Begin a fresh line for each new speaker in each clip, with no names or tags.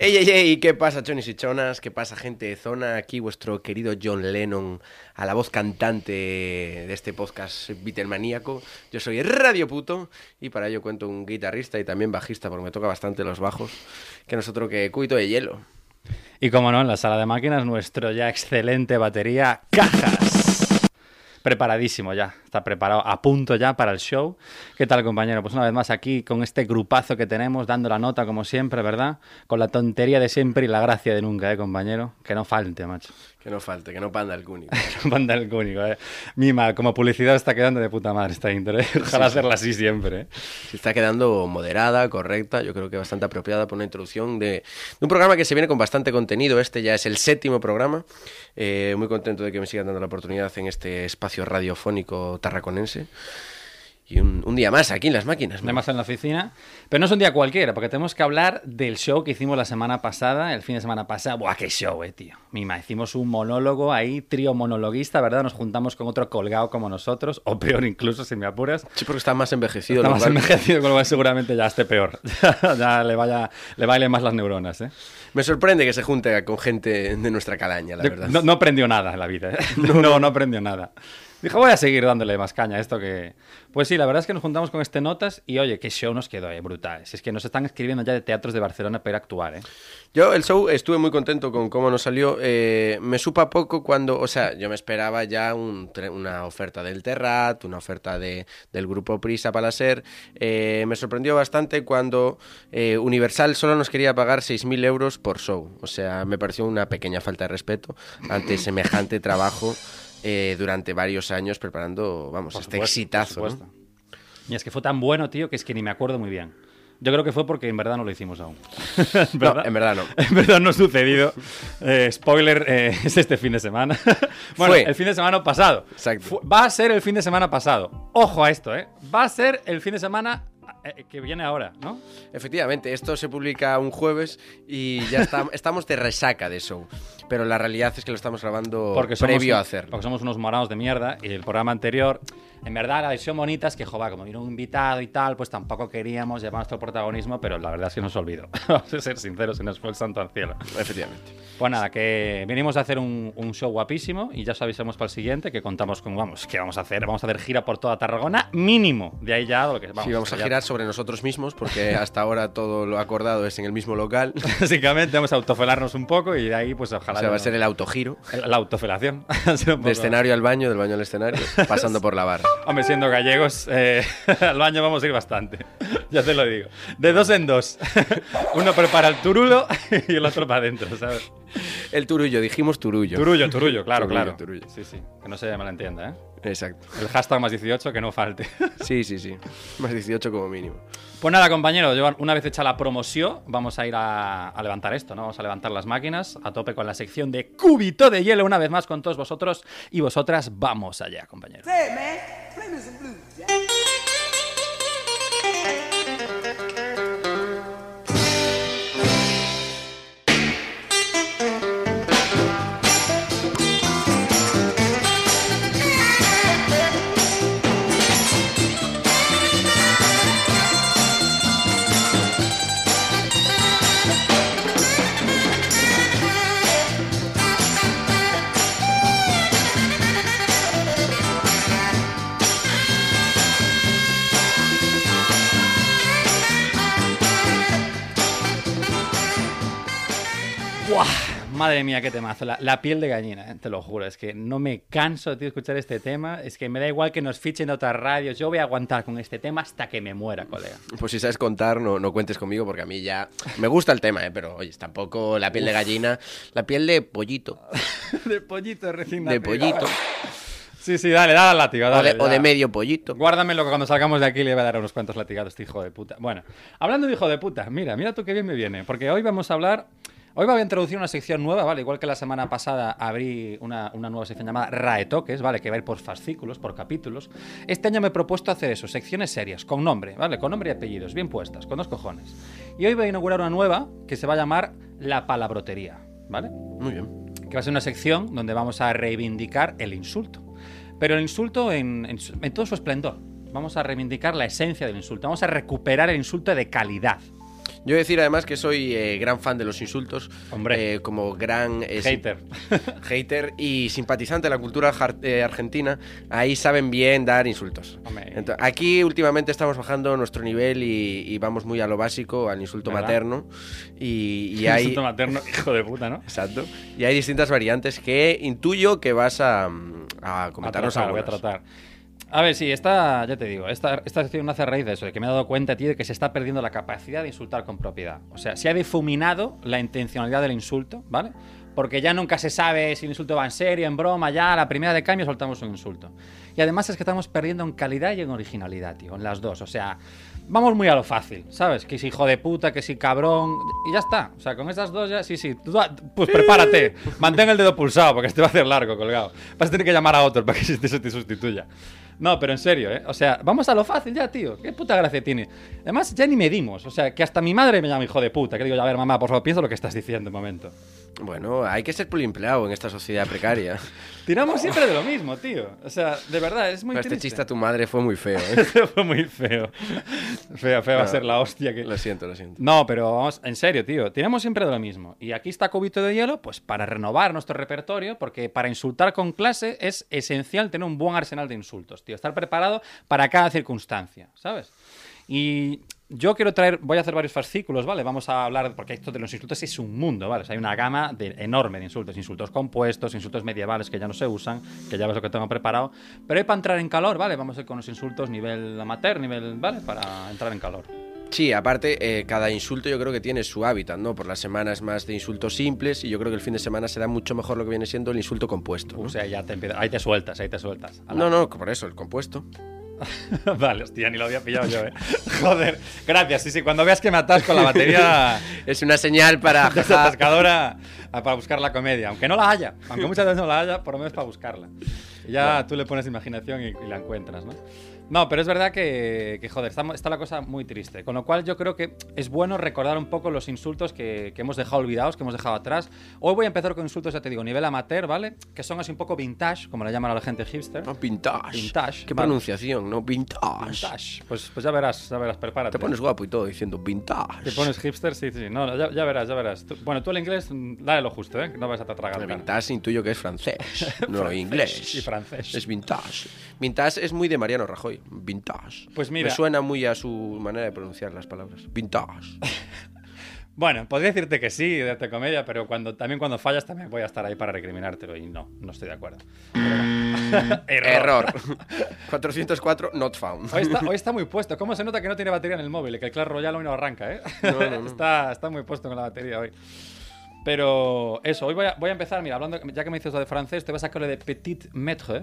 Ey, ey, ey, ¿qué pasa, chonis y chonas? ¿Qué pasa, gente de zona? Aquí vuestro querido John Lennon, a la voz cantante de este podcast Beatlemaníaco. Yo soy Radio Puto y para ello cuento un guitarrista y también bajista, porque me toca bastante los bajos, que nosotros que Cuito de Hielo.
Y como no, en la sala de máquinas, nuestro ya excelente batería Cajas. Preparadísimo ya, está preparado, a punto ya para el show. ¿Qué tal, compañero? Pues una vez más aquí con este grupazo que tenemos, dando la nota como siempre, ¿verdad? Con la tontería de siempre y la gracia de nunca, ¿eh, compañero? Que no falte, macho.
Que no falte, que no panda el cúnico.
Banda del cúnico, ¿eh? Mima, como publicidad está quedando de puta madre esta intro, ¿eh? Ojalá hacerla así siempre, ¿eh?
Se está quedando moderada, correcta, yo creo que bastante apropiada por una introducción de, de un programa que se viene con bastante contenido. Este ya es el séptimo programa. Eh, muy contento de que me sigan dando la oportunidad en este espacio radiofónico tarraconense. Y un, un día más aquí en las máquinas. ¿no?
Además en la oficina. Pero no es un día cualquiera, porque tenemos que hablar del show que hicimos la semana pasada, el fin de semana pasada. Buah, qué show, eh, tío. Mima, hicimos un monólogo ahí, trío monologuista, ¿verdad? Nos juntamos con otro colgado como nosotros, o peor incluso, si me apuras.
Sí, porque está más envejecido.
Está
lo
más
cual-
envejecido, con lo cual seguramente ya esté peor. ya ya le, vaya, le bailen más las neuronas, ¿eh?
Me sorprende que se junte con gente de nuestra calaña, la
Yo-
verdad.
No, no aprendió nada en la vida. ¿eh? No, no, aprendió nada. Dijo, voy a seguir dándole más caña a esto que... Pues sí, la verdad es que nos juntamos con este Notas y oye, qué show nos quedó, eh, brutal. Si es que nos están escribiendo ya de teatros de Barcelona para ir a actuar, eh.
Pues Yo el show estuve muy contento con cómo nos salió. Eh, me supa poco cuando, o sea, yo me esperaba ya un tre- una oferta del Terrat, una oferta de, del grupo Prisa para ser. Eh, me sorprendió bastante cuando eh, Universal solo nos quería pagar 6.000 euros por show. O sea, me pareció una pequeña falta de respeto ante semejante trabajo eh, durante varios años preparando, vamos,
Por
este
supuesto, por
exitazo. ¿no?
supuesto. Y es que fue tan bueno, tío, que es que ni me acuerdo muy bien. Yo creo que fue porque en verdad no lo hicimos aún. ¿En
No, en verdad no.
En verdad no ha sucedido. Eh, spoiler, eh, es este fin de semana. bueno,
Fue.
el fin de semana pasado.
Exacto.
Fu- va a ser el fin de semana pasado. Ojo a esto, ¿eh? Va a ser el fin de semana eh, que viene ahora, ¿no?
Efectivamente, esto se publica un jueves y ya está- estamos de resaca de show. Pero la realidad es que lo estamos grabando previo a hacerlo.
Porque somos unos morados de mierda y el programa anterior, en verdad, la versión bonita es que, joder, como vino un invitado y tal, pues tampoco queríamos llevar nuestro protagonismo, pero la verdad es que nos olvidó. Vamos a ser sinceros, se nos fue el santo al cielo.
Efectivamente.
Pues nada, que venimos a hacer un, un show guapísimo y ya os avisamos para el siguiente que contamos con, vamos, ¿qué vamos a hacer? Vamos a hacer gira por toda Tarragona, mínimo. De ahí ya lo que
sí, vamos a
ya-
girar sobre nosotros mismos porque hasta ahora todo lo acordado es en el mismo local.
Básicamente vamos a autofelarnos un poco y de ahí, pues
O
ojalá.
sea, va a
no-
ser el autogiro.
el- la autofelación. Va a ser
De
un poco-
escenario al baño, del baño al escenario, pasando por la barra.
Hombre, siendo gallegos, eh, al baño vamos a ir bastante. Ya te lo digo. De dos en dos. Uno prepara el turulo y el otro para adentro, ¿sabes?
El turullo, dijimos turullo.
Turullo, turullo, claro,
Turullo,
claro.
turullo.
Sí, sí. Que no se malentienda, ¿eh?
Exacto.
El hashtag más 18 que no falte.
Sí, sí, sí. Más 18 como mínimo.
Pues nada, compañeros, yo, una vez hecha la promoción, vamos a ir a, a levantar esto, ¿no? Vamos a levantar las máquinas a tope con la sección de cúbito de hielo una vez más con todos vosotros y vosotras. Vamos allá, compañeros.
Say it, man. Play me some blues, Jack.
¡Buah! Madre mía, qué temazo. La, la piel de gallina, eh, te lo juro. Es que no me canso tío, de escuchar este tema. Es que me da igual que nos fichen de otras radios. Yo voy a aguantar con este tema hasta que me muera, colega.
Pues si sabes contar, no, no cuentes conmigo porque a mí ya me gusta el tema, ¿eh? pero oye, tampoco la piel de gallina, la piel de pollito,
De pollito recién
de pollito.
Sí, sí, dale, dale al látigo.
O
Dale,
de, o
ya.
de medio pollito.
Guárdamelo que cuando salgamos de aquí le voy a dar unos cuantos latigados, este hijo de puta. Bueno, hablando de hijo de puta, mira, mira tú qué bien me viene. Porque hoy vamos a hablar. Hoy va a introducir una sección nueva, ¿vale? Igual que la semana pasada abrí una, una nueva sección llamada Raetoques, ¿vale? Que va a ir por fascículos, por capítulos. Este año me he propuesto hacer eso, secciones serias, con nombre, ¿vale? Con nombre y apellidos, bien puestas, con dos cojones. Y hoy voy a inaugurar una nueva que se va a llamar La Palabrotería, ¿vale?
Muy bien.
que va a ser una sección donde vamos a reivindicar el insulto. Pero el insulto en, en su- en todo su esplendor. Vamos a reivindicar la esencia del insulto. Vamos a recuperar el insulto de calidad.
Yo decir además que soy eh, gran fan de los insultos.
Hombre.
eh, como gran. eh, sim-
Hater.
hater y simpatizante de la cultura jar- eh, argentina, ahí saben bien dar insultos.
Hombre.
Ento- aquí últimamente estamos bajando nuestro nivel y, y vamos muy a lo básico, al insulto
¿Verdad?
materno. Y, y
El
hay,
Insulto materno, hijo de puta, ¿no?
exacto, y hay distintas variantes que intuyo que vas a, mm, a comentarnos
a tratar, voy a
algunas.
tratar. A ver, sí, esta, ya te digo, esta, esta sección nace a raíz de eso, de que me he dado cuenta, tío, de que se está perdiendo la capacidad de insultar con propiedad. O sea, se ha difuminado la intencionalidad del insulto, ¿vale? Porque ya nunca se sabe si el insulto va en serio, en broma, ya a la primera de cambio soltamos un insulto. Y además es que estamos perdiendo en calidad y en originalidad, tío, en las dos. O sea, vamos muy a lo fácil, ¿sabes? Que si hijo de puta, que si cabrón, y ya está. O sea, con esas dos ya, sí, sí. Tú da- pues prepárate, mantén el dedo pulsado porque este va a hacer largo, colgado. Vas a tener que llamar a otro para que este se te, se te sustituya. No, pero en serio, ¿eh? O sea, vamos a lo fácil ya, tío. ¿Qué puta gracia tiene? Además, ya ni medimos. O sea, que hasta mi madre me llama hijo de puta. Que digo, yo, a ver, mamá, por favor, piensa lo que estás diciendo un momento.
Bueno, hay que ser empleado en esta sociedad precaria.
Tiramos siempre de lo mismo, tío. O sea, de verdad, es muy
Pero este
triste.
chiste a tu madre fue muy feo. ¿eh?
Fue muy feo. Feo, feo va a
No.
ser la hostia que...
Lo siento, lo siento.
No, pero vamos, en serio, tío. Tiramos siempre de lo mismo. Y aquí está Cubito de Hielo, pues para renovar nuestro repertorio, porque para insultar con clase es esencial tener un buen arsenal de insultos, tío. Estar preparado para cada circunstancia, ¿sabes? Y yo quiero traer, voy a hacer varios fascículos, ¿vale? Vamos a hablar, porque esto de los insultos es un mundo, ¿vale? O sea, hay una gama de- enorme de insultos, insultos compuestos, insultos medievales que ya no se usan, que ya ves lo que tengo preparado. Pero hoy para entrar en calor, ¿vale? Vamos a ir con los insultos nivel amateur, nivel, ¿vale? Para entrar en calor.
Sí, aparte, eh, cada insulto yo creo que tiene su hábitat, ¿no? Por las semanas más de insultos simples y yo creo que el fin de semana se da mucho mejor lo que viene siendo el insulto compuesto. ¿no?
O sea, ya te empieza- Ahí te sueltas, ahí te sueltas. Ala.
No, no, por eso, el compuesto.
vale, hostia, ni lo había pillado yo, eh. Joder, gracias. Sí, sí, cuando veas que me atasco la batería
Es una señal para...
de esa atascadora ah, para buscar la comedia. Aunque no la haya, aunque muchas veces no la haya, por lo menos para buscarla. Y ya tú le pones imaginación y, y la encuentras, ¿no? No, pero es verdad que, que, joder, está, mo- está la cosa muy triste. Con lo cual yo creo que es bueno recordar un poco los insultos que, que hemos dejado olvidados, que hemos dejado atrás. Hoy voy a empezar con insultos, ya te digo, nivel amateur, ¿vale? Que son así un poco vintage, como la llaman a la gente hipster.
Ah, Vintage.
Vintage,
Qué
vale.
pronunciación, ¿no? Vintage.
Vintage. Pues, pues ya verás, ya verás, prepárate.
Te pones guapo y todo diciendo vintage.
Te pones hipster, sí, sí. No, no, ya, ya verás, ya verás. Tú- bueno, tú el inglés, mm, dale lo justo, ¿eh? Que No vas a te atragantar.
El vintage intuyo que es francés, no inglés.
y francés.
Es vintage. Vintage es muy de Mariano Rajoy. Vintage.
Pues mira-
Me suena muy a su manera de pronunciar las palabras. Vintage.
Bueno, podría decirte que sí, darte comedia, pero cuando, también cuando fallas también voy a estar ahí para recriminártelo y no, no estoy de acuerdo. Pero-
Mm, Error. 404 not found.
Hoy está, hoy está muy puesto. ¿Cómo se nota que no tiene batería en el móvil? Que el Clash Royale hoy no arranca, ¿eh? Está, está muy puesto con la batería hoy. Pero eso, hoy voy a, voy a empezar, mira, hablando, ya que me dices lo de francés, te voy a sacar lo de petit maître,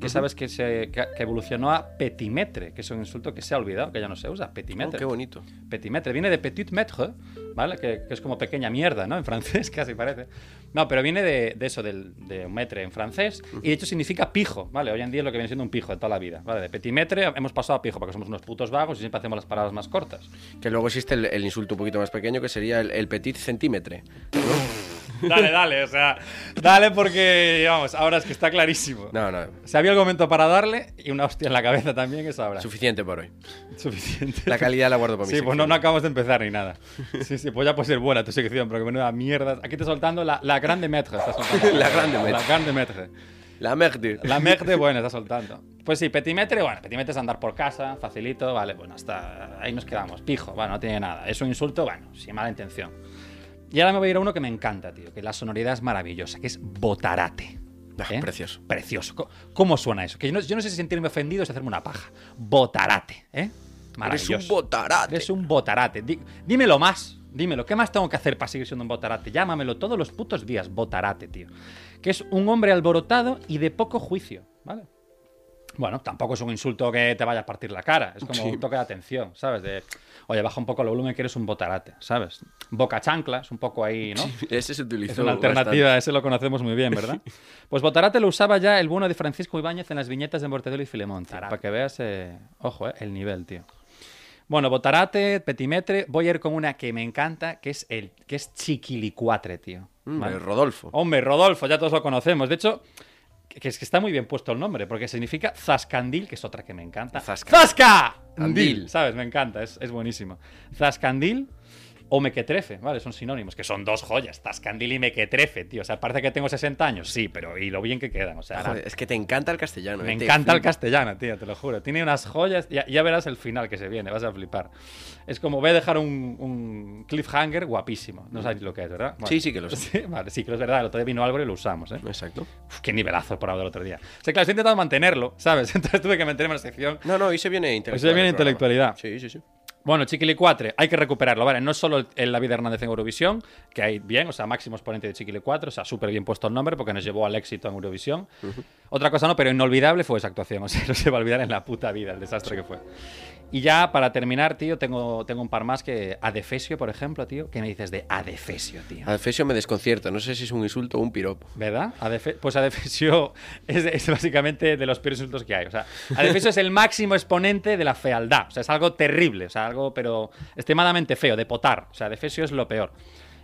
que sabes que, se, que, que evolucionó a petimetre, que es un insulto que se ha olvidado, que ya no se usa,
Oh,
petimetre.
qué bonito.
Petimetre, viene de petit maître, ¿vale? Que, que es como pequeña mierda, ¿no? En francés casi parece. No, pero viene de, de eso, del, de un metre en francés, y de hecho significa pijo, ¿vale? Hoy en día es lo que viene siendo un pijo de toda la vida, ¿vale? De petit maître hemos pasado a pijo, porque somos unos putos vagos y siempre hacemos las paradas más cortas.
Que luego existe el, el insulto un poquito más pequeño que sería el, el petit centímetre.
Dale, dale, o sea, dale porque, vamos, ahora es que está clarísimo.
No, no.
Si había argumento para darle y una hostia en la cabeza también, eso habrá.
Suficiente por hoy.
Suficiente.
La calidad la guardo para mí.
Sí, pues no, no acabamos de empezar ni nada. Sí, sí, pues ya puede ser buena tu sección, pero que menuda mierda. Aquí te soltando la, la grande metre. estás soltando.
La grande metre.
La grande metre.
La merde.
La merde, bueno, está soltando. Pues sí, petimetre, bueno, petimetre es andar por casa, facilito, vale, bueno, hasta ahí nos quedamos. Pijo, bueno, no tiene nada. Es un insulto, bueno, sin mala intención. Y ahora me voy a ir a uno que me encanta, tío, que la sonoridad es maravillosa, que es botarate.
Ah,
¿Eh?
precioso.
Precioso. Co- ¿Cómo suena eso? Que yo no, yo no sé si sentirme ofendido o si hacerme una paja. Botarate, ¿eh?
Eres
Maravilloso.
un botarate.
Eres un botarate. Di- dímelo más. Dímelo. ¿Qué más tengo que hacer para seguir siendo un botarate? Llámamelo todos los putos días, botarate, tío. Que es un hombre alborotado y de poco juicio, ¿vale? Bueno, tampoco es un insulto que te vayas a partir la cara. Es como
Sí.
un toque de atención, ¿sabes? De, oye, baja un poco el volumen que eres un botarate, ¿sabes? Boca chancla, es un poco ahí, ¿no?
Ese se utilizó.
Es una alternativa, ese lo conocemos muy bien, ¿verdad? Pues Botarate lo usaba ya el bueno de Francisco Ibáñez en las viñetas de Mortadelo y Filemón, tío, para que veas, eh, ojo, eh, el nivel, tío. Bueno, Botarate, Petimetre, voy a ir con una que me encanta, que es el que es Chiquilicuatre, tío.
Hombre,
¿Vale?
Mm, Rodolfo.
Hombre, Rodolfo, ya todos lo conocemos. De hecho, que es que está muy bien puesto el nombre, porque significa Zascandil, que es otra que me encanta.
Zasca.
¡Zascandil!
Andil.
¿Sabes? Me encanta, es, es buenísimo. Zascandil o Mequetrefe, ¿vale? Son sinónimos, que son dos joyas, Zascandil y Mequetrefe, tío. O sea, parece que tengo 60 años, sí, pero y lo bien que quedan, o sea... la-
Joder, es que te encanta el castellano.
me
eh, te
encanta el
flipa.
castellano, tío, te lo juro. Tiene unas joyas. Ya, ya verás el final que se viene, vas a flipar. Es como voy a dejar un, un cliffhanger guapísimo. No sabéis lo que es, ¿verdad?
Sí, sí que lo sé.
Sí, vale, sí que es verdad. El otro día vino Álvaro y lo usamos, ¿eh?
Mm, Exacto.
Uf, qué nivelazo por hablar el otro día. O sea, claro, estoy intentando mantenerlo, ¿sabes? Entonces tuve que mantenerme en la sección.
No, no, hoy se viene intelectual.
viene
el programa.
intelectualidad.
Sí, sí, sí.
Bueno, Chiquilicuatre, hay que recuperarlo, ¿vale? No solo el, el David Hernández en Eurovisión, que hay bien, o sea, máximo exponente de Chiquilicuatre, o sea, súper bien puesto el nombre porque nos llevó al éxito en Eurovisión. Otra cosa no, pero inolvidable fue esa actuación, o sea, no se va a olvidar en la puta vida el desastre que fue. Y ya para terminar, tío, tengo, tengo un par más que Adefesio, por ejemplo, tío, ¿qué me dices de Adefesio, tío?
Adefesio me desconcierta. No sé si es un insulto o un piropo.
¿Verdad? Adefe- pues Adefesio es, es básicamente de los peores insultos que hay. O sea, Adefesio es el máximo exponente de la fealdad. O sea, es algo terrible, o sea, algo, pero extremadamente feo, de potar. O sea, Adefesio es lo peor.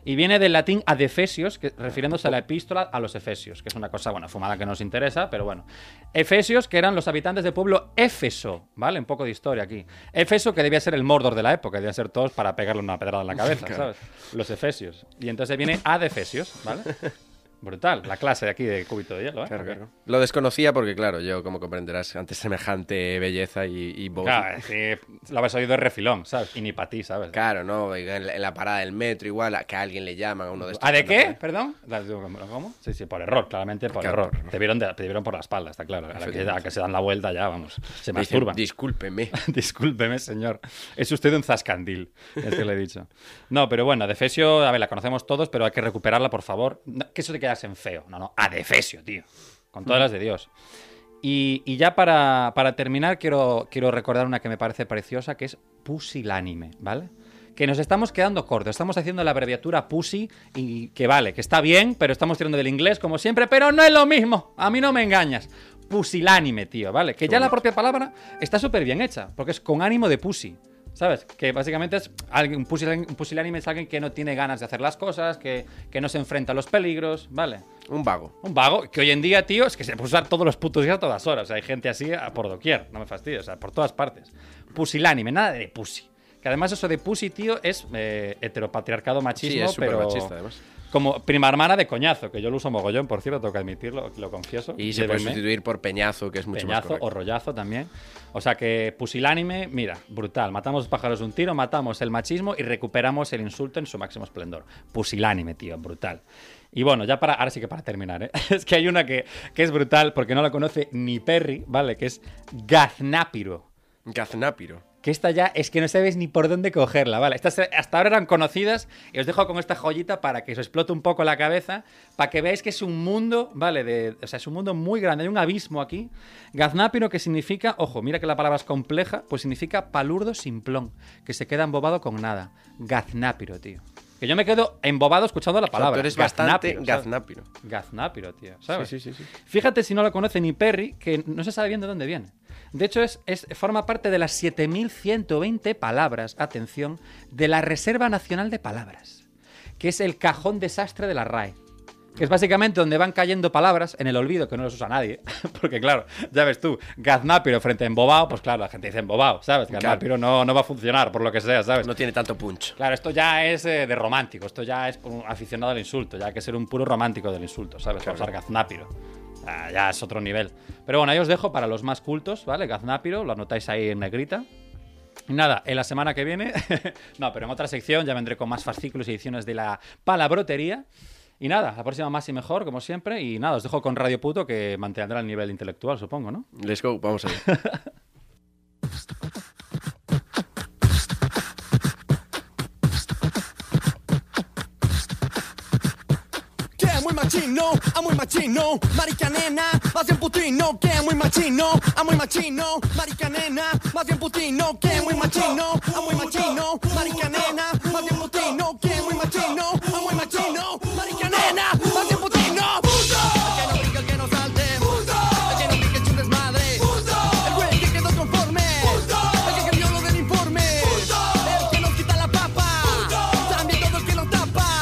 Y viene del latín adefesios, que, refiriéndose a la epístola a los efesios, que es una cosa, bueno, fumada que no nos interesa, pero bueno. Efesios, que eran los habitantes del pueblo Éfeso, ¿vale? Un poco de historia aquí. Éfeso, que debía ser el Mordor de la época, debían ser todos para pegarle una pedrada en la cabeza, ¿sabes? Los efesios. Y entonces viene adefesios, ¿vale? Brutal, la clase de aquí de cúbito de hielo, ¿eh?
Claro,
Porque-
claro. Lo desconocía porque, claro, yo, como comprenderás, ante semejante belleza y, y voz.
Claro, eh. es que lo habéis oído de refilón, ¿sabes? Y ni para ti, ¿sabes?
Claro, no, en la, en la parada del metro, igual, a que a alguien le llama a uno de estos.
¿Ah, de
cantantes.
qué? ¿Perdón? ¿Cómo? Sí, sí, por error, claramente por
¿eh? Claro, por
error. Te vieron, de- te vieron por la espalda, está claro. A la, que, a la que se dan la vuelta ya, vamos, se
Me dicen,
masturban.
Discúlpeme.
Discúlpeme, señor. Es usted un zascandil, es que le he dicho. No, pero bueno, Adefesio, a ver, la conocemos todos, pero hay que recuperarla, por favor. No, que eso te quedas en feo. No, no, Adefesio, tío. Con
Mm.
todas las de Dios. Y, y ya para, para terminar, quiero, quiero recordar una que me parece preciosa, que es pusilánime, ¿vale? Que nos estamos quedando cortos, estamos haciendo la abreviatura pussy y que vale, que está bien, pero estamos tirando del inglés como siempre, pero no es lo mismo, a mí no me engañas. Pusilánime, tío, ¿vale? Que ya la propia palabra está súper bien hecha, porque es con ánimo de pussy. ¿Sabes? Que básicamente es alguien, un, pusilán- un pusilánime es alguien que no tiene ganas de hacer las cosas, que, que no se enfrenta a los peligros, ¿vale?
Un vago.
Un vago, que hoy en día, tío, es que se puede usar todos los putos días a todas horas. O sea, hay gente así a por doquier, no me fastidies, o sea, por todas partes. Pusilánime, nada de pussy. Que además eso de pussy, tío, es eh, heteropatriarcado
sí,
machismo,
es eh. súper
pero...
machista, además.
Como prima hermana de coñazo, que yo lo uso mogollón, por cierto, tengo que admitirlo, lo confieso.
Y se puede
Llévenme.
sustituir por peñazo, que es mucho más
Peñazo
correcto.
o rollazo también. O sea que pusilánime, mira, brutal. Matamos dos pájaros de un tiro, matamos el machismo y recuperamos el insulto en su máximo esplendor. Pusilánime, tío, brutal. Y bueno, ya para, ahora sí que para terminar, ¿eh? es que hay una que, que es brutal porque no la conoce ni Perry, ¿vale? Que es gaznápiro.
Gaznápiro.
Que esta ya es que no sabes ni por dónde cogerla, ¿vale? Estas eh, hasta ahora eran conocidas y os dejo con esta joyita para que os explote un poco la cabeza, para que veáis que es un mundo, ¿vale? De, o sea, es un mundo muy grande, hay un abismo aquí. Gaznápiro que significa, ojo, mira que la palabra es compleja, pues significa palurdo simplón, que se queda embobado con nada. Gaznápiro, tío. Que yo me quedo embobado escuchando
O
la
sea, tú
palabra.
eres bastante
gaznápiro, ¿sabes?
gaznápiro.
Gaznápiro, tío, ¿sabes?
Sí, sí, sí, sí.
Fíjate si no lo conoce ni Perry, que no se sabe bien de dónde viene. De hecho, es, es- forma parte de las 7.120 palabras, atención, de la Reserva Nacional de Palabras, que es el cajón desastre de la RAE. Que es básicamente donde van cayendo palabras en el olvido, que no las usa nadie. Porque, claro, ya ves tú, gaznápiro frente a embobao, pues claro, la gente dice embobao, ¿sabes?
Claro.
Gaznápiro no, no va a funcionar, por lo que sea, ¿sabes?
No tiene tanto punch.
Claro, esto ya es eh, de romántico, esto ya es un aficionado al insulto, ya hay que ser un puro romántico del insulto, ¿sabes? Para usar gaznápiro. Ah, ya es otro nivel. Pero bueno, ahí os dejo para los más cultos, ¿vale? Gaznápiro, lo anotáis ahí en negrita. Y Nada, en la semana que viene, no, pero en otra sección ya vendré con más fascículos y ediciones de la palabrotería. Y nada, la próxima más y mejor, como siempre. Y nada, os dejo con Radio Puto que mantendrá el nivel intelectual, supongo, ¿no?
Let's go, vamos allá.
Yeah, muy machista. machino, ah, muy machino, marica nena, más bien putino, que muy machino, ah, muy machino, marica nena, más bien putino, que muy machino, ah, muy machino, marica nena, más bien putino, que muy machino, ah, muy machino, marica nena, más bien putino. El que no brinque, el que no salte. El que no brinque, es un desmadre. El güey que quedó conforme. El que cambió lo del informe. El que nos quita la papa. También todo el que nos tapa.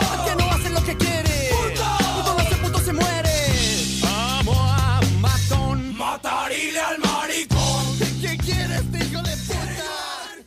El que no hace lo que quiere. Puto lo hace, puto se muere. Amo a matón. Matarile al maricón. ¿Qué quieres, hijo de puta?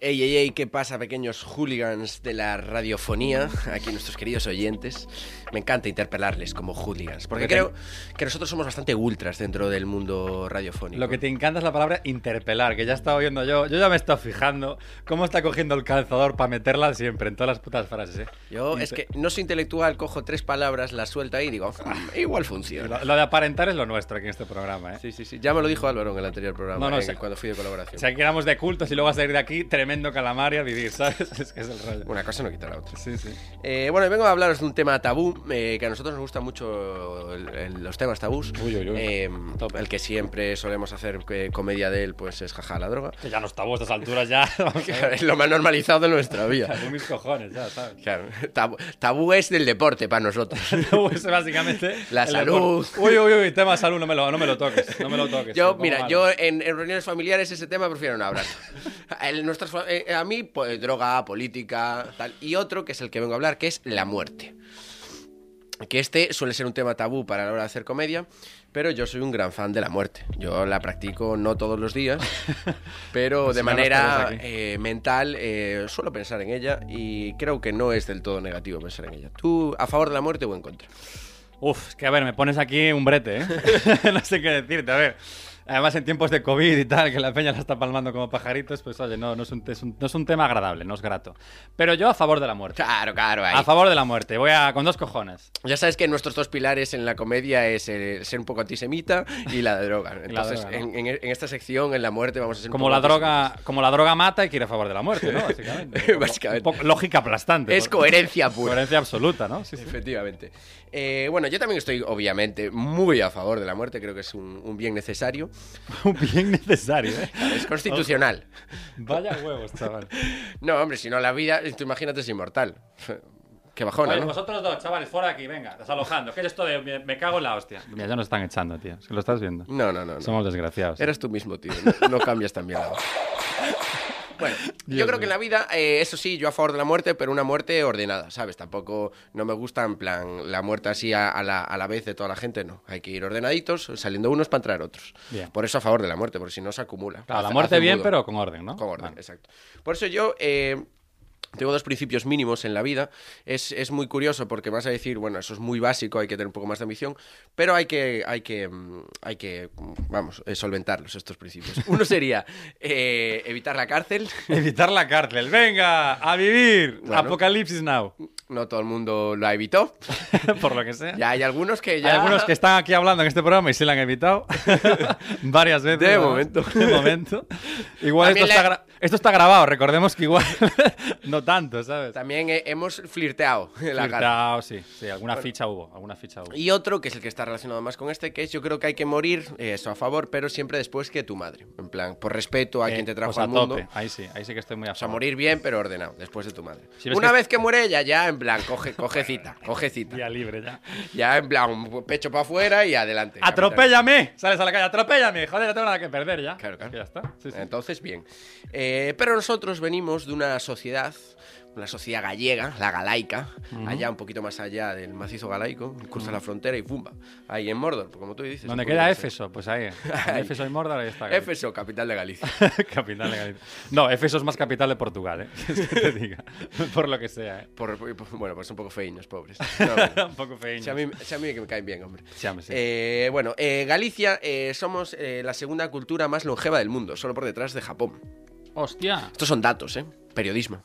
Ey, ey, ey, ¿qué pasa, pequeños hooligans de la radiofonía? Aquí nuestros queridos oyentes. Me encanta interpelarles como hooligans, porque
Porque te-
creo que nosotros somos bastante ultras dentro del mundo radiofónico.
Lo que te encanta es la palabra interpelar, que ya estaba oyendo yo. Yo ya me he estado fijando cómo está cogiendo el calzador para meterla siempre en todas las putas frases. ¿eh?
Yo es que no soy intelectual, cojo tres palabras, las suelta y digo, "Mm, igual funciona.
Lo, lo de aparentar es lo nuestro aquí en este programa. ¿eh?
Sí, sí, sí. Ya me lo dijo Álvaro en el anterior programa,
No, no,
en-
sí.
cuando fui de colaboración.
O sea, que éramos de cultos y luego a salir de aquí tremendo calamar y a vivir, ¿sabes? Es que es el rollo.
Una cosa no quita la otra.
Sí, sí.
Eh, bueno, vengo a hablaros de un tema tabú, eh, que a nosotros nos gustan mucho el- el- los temas tabús.
Uy, uy, uy.
Eh,
Tope.
el que siempre solemos hacer eh, comedia de él, pues es jaja la droga.
Que ya no estamos a estas alturas, ya. vamos a ver,
Es lo más normalizado de nuestra vida.
con mis cojones, ya, ¿sabes?
Claro, tabú, tabú es del deporte para nosotros.
No, pues, básicamente.
La
el
salud.
deporte. Uy, uy, uy, tema salud, no me lo, no me lo toques. No me lo toques. me
Yo,
pongo
mira,
malo.
yo en, en reuniones familiares ese tema prefiero no hablar. El- nuestras fa- eh, a mí, pues, droga, política, tal. Y otro que es el que vengo a hablar, que es la muerte. Que este suele ser un tema tabú para la hora de hacer comedia, pero yo soy un gran fan de la muerte. Yo la practico no todos los días, pero
Pues
de
ya nos
manera
tenemos aquí.
eh, mental eh, suelo pensar en ella y creo que no es del todo negativo pensar en ella. ¿Tú a favor de la muerte o en contra?
Uf, es que a ver, me pones aquí un brete, ¿eh? no sé qué decirte, a ver. Además, en tiempos de COVID y tal, que la peña la está palmando como pajaritos, pues oye, no, no, es, un, es un- no es un tema agradable, no es grato. Pero yo a favor de la muerte.
Claro, claro, ahí.
A favor de la muerte, voy a con dos cojones.
Ya sabes que nuestros dos pilares en la comedia es eh, ser un poco antisemita y la droga. Entonces,
droga, ¿no?
en, en- en esta sección, en la muerte, vamos a ser un
Como
poco
la droga, como la droga mata y quiere a favor de la muerte, ¿no? Básicamente. Un poco-
Básicamente.
un poco lógica aplastante.
Es
por-
coherencia pura.
Coherencia absoluta, ¿no? Sí, sí.
Efectivamente. Eh, bueno, yo también estoy, obviamente, muy a favor de la muerte. Creo que es un, un bien necesario.
Un bien necesario, ¿eh?
Es constitucional.
Vaya huevos, chaval.
No, hombre, si no la vida, tú imagínate, es inmortal. Qué bajona,
Oye,
¿no?
vosotros dos, chavales, fuera de aquí, venga, desalojando. ¿Qué es esto de me, me cago en la hostia? Mira, ya nos están echando, tío. Es que lo estás viendo.
No, no, no. no.
Somos desgraciados.
Eres tú mismo, tío. No, no cambias también la voz. Bueno, yo creo que en la vida, eh, eso sí, yo a favor de la muerte, pero una muerte ordenada, ¿sabes? Tampoco no me gusta en plan la muerte así a, a la, a la vez de toda la gente, no. Hay que ir ordenaditos, saliendo unos para entrar otros.
Bien.
Por eso a favor de la muerte, porque si no se acumula.
Claro, la
Hace-
muerte
hace
bien,
mudo.
pero con orden, ¿no?
Con orden,
Vale.
exacto. Por eso yo eh, tengo dos principios mínimos en la vida. Es, es muy curioso porque vas a decir, bueno, eso es muy básico, hay que tener un poco más de ambición, pero hay que, hay que, mm, hay que mm, vamos, eh, solventarlos estos principios. Uno sería eh, evitar la cárcel.
Evitar la cárcel. Venga, a vivir.
Bueno.
Apocalipsis now.
No todo el mundo la evitó.
Por lo que sea.
Ya hay algunos que ya...
Hay algunos que están aquí hablando en este programa y se la han evitado varias veces.
De
además.
momento.
De momento. Igual esto,
También
está
la-
gra- esto está grabado, recordemos que igual no tanto, ¿sabes?
También eh, hemos flirteado en la cárcel.
Flirtao, sí, sí, alguna ficha hubo, alguna ficha hubo.
Y otro, que es el que está relacionado más con este, que es yo creo que hay que morir, eh, eso a favor, pero siempre después que tu madre. En plan, por respeto a
Eh,
quien te trajo
pues a
al mundo.
tope. Ahí sí, ahí sí que estoy muy a
O sea,
favor.
morir bien, pero ordenado, después de tu madre.
Si ves
Una
que-
vez que muere ella, ya en plan, coge, coge cita, coge cita.
Día libre ya.
Ya en plan, pecho para afuera y adelante.
¡Atropéllame! Sales a la calle, ¡atropéllame! Joder, no tengo nada que perder ya.
Claro, claro.
Es que ya está. Sí, sí.
Entonces, bien. Eh, pero nosotros venimos de una sociedad, una sociedad gallega, la galaica, allá un poquito más allá del macizo galaico, cruza la frontera y pumba, ahí en Mordor, como tú dices.
Donde
en
queda
Curiosa.
Éfeso, pues ahí.
Ahí.
Éfeso y Mordor, ahí está.
Éfeso, capital de Galicia.
capital de Galicia. No, Éfeso es más capital de Portugal, ¿eh? Es que te diga. Por lo que sea, ¿eh?
Por- por- bueno, pues un poco feiños, pobres. No, bueno.
Un poco feíño.
Si a, mí, si a mí que me caen bien, hombre.
Sí, hombre, sí.
Eh, bueno, eh, Galicia eh, somos eh, la segunda cultura más longeva del mundo, solo por detrás de Japón.
Hostia.
Estos son datos, ¿eh? Periodismo.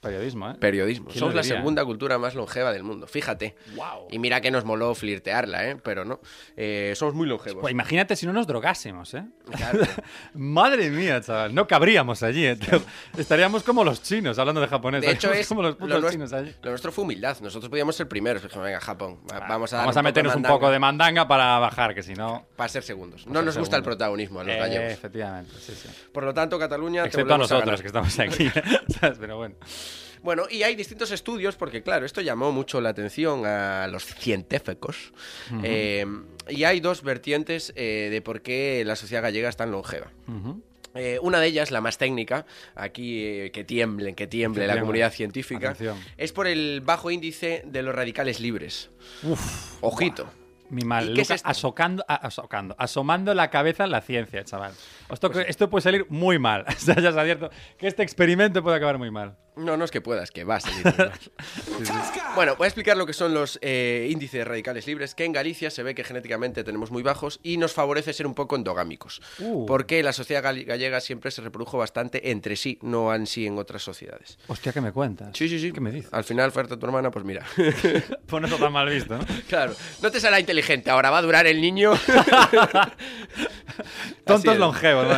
Periodismo, ¿eh?
Periodismo.
¿Quién lo
Somos la
diría?
segunda cultura más longeva del mundo, fíjate.
Guau.
Y mira que nos moló flirtearla, ¿eh? Pero no. Eh, somos muy longevos.
Pues imagínate si no nos drogásemos, ¿eh?
Claro.
Madre mía, chaval, no cabríamos allí. ¿eh? Estaríamos como los chinos hablando de japonés.
De hecho,
estaríamos
es
pues, como los
lo,
putos
nues-
chinos allí.
lo nuestro fue humildad. Nosotros podíamos ser primeros. Dijimos, venga, Japón, va- vamos a, dar
Vamos
poco
a
de
meternos un
mandanga
poco de mandanga para bajar, que si no.
Para ser segundos. No
ser
nos gusta el
segundos.
protagonismo a los
Eh,
gallegos.
efectivamente, sí, sí.
Por lo tanto, Cataluña... te
Excepto a
volvemos
nosotros
ganar.
que estamos aquí. ¿sabes? Pero bueno.
Bueno, y hay distintos estudios, porque claro, esto llamó mucho la atención a los científicos. Eh, y hay dos vertientes eh, de por qué la sociedad gallega es tan longeva. Eh, una de ellas, la más técnica, aquí eh, que tiemblen, que tiemble
Que
la
tiemble.
comunidad científica,
Atención.
es por el bajo índice de los radicales libres.
Uf,
Ojito.
mi mal,
¿Y qué es
Luca,
esto?
asocando, a- asocando, asomando la cabeza en la ciencia, chaval. Esto,
Pues
esto puede salir muy mal. O sea, ya es abierto que este experimento puede acabar muy mal.
No, no es que puedas, que vas. literal. bueno, voy a explicar lo que son los eh, índices de radicales libres, que en Galicia se ve que genéticamente tenemos muy bajos y nos favorece ser un poco endogámicos,
Uh.
porque la sociedad gal- gallega siempre se reprodujo bastante entre sí, no en sí en otras sociedades.
Hostia, ¿qué me cuentas?
Sí, sí, sí.
¿Qué me dices?
Al final, oferta a tu hermana, pues mira.
Pues no está tan mal visto, ¿no?
claro, no te será inteligente, ahora va a durar el niño. Así
Tontos
es.
longevos, ¿no?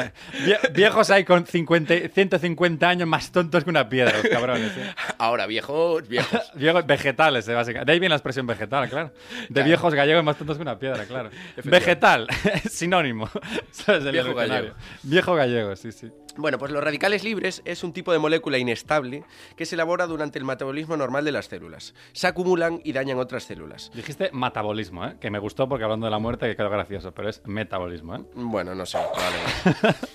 Vie- Viejos hay con 50, 150 años más tontos que una piedra, los cabrones. ¿eh?
ahora, viejos, viejos.
Viejos vegetales, eh, básicamente. De ahí viene la expresión vegetal, claro. De viejos gallegos más tontos que una piedra, claro. Vegetal, sinónimo. ¿sabes? Del
Viejo
diccionario.
gallego.
Viejo gallego, sí, sí.
Bueno, pues los radicales libres es un tipo de molécula inestable que se elabora durante el metabolismo normal de las células. Se acumulan y dañan otras células.
Dijiste metabolismo, ¿eh? Que me gustó porque hablando de la muerte que quedó gracioso, pero es metabolismo, ¿eh?
Bueno, no sé. probablemente.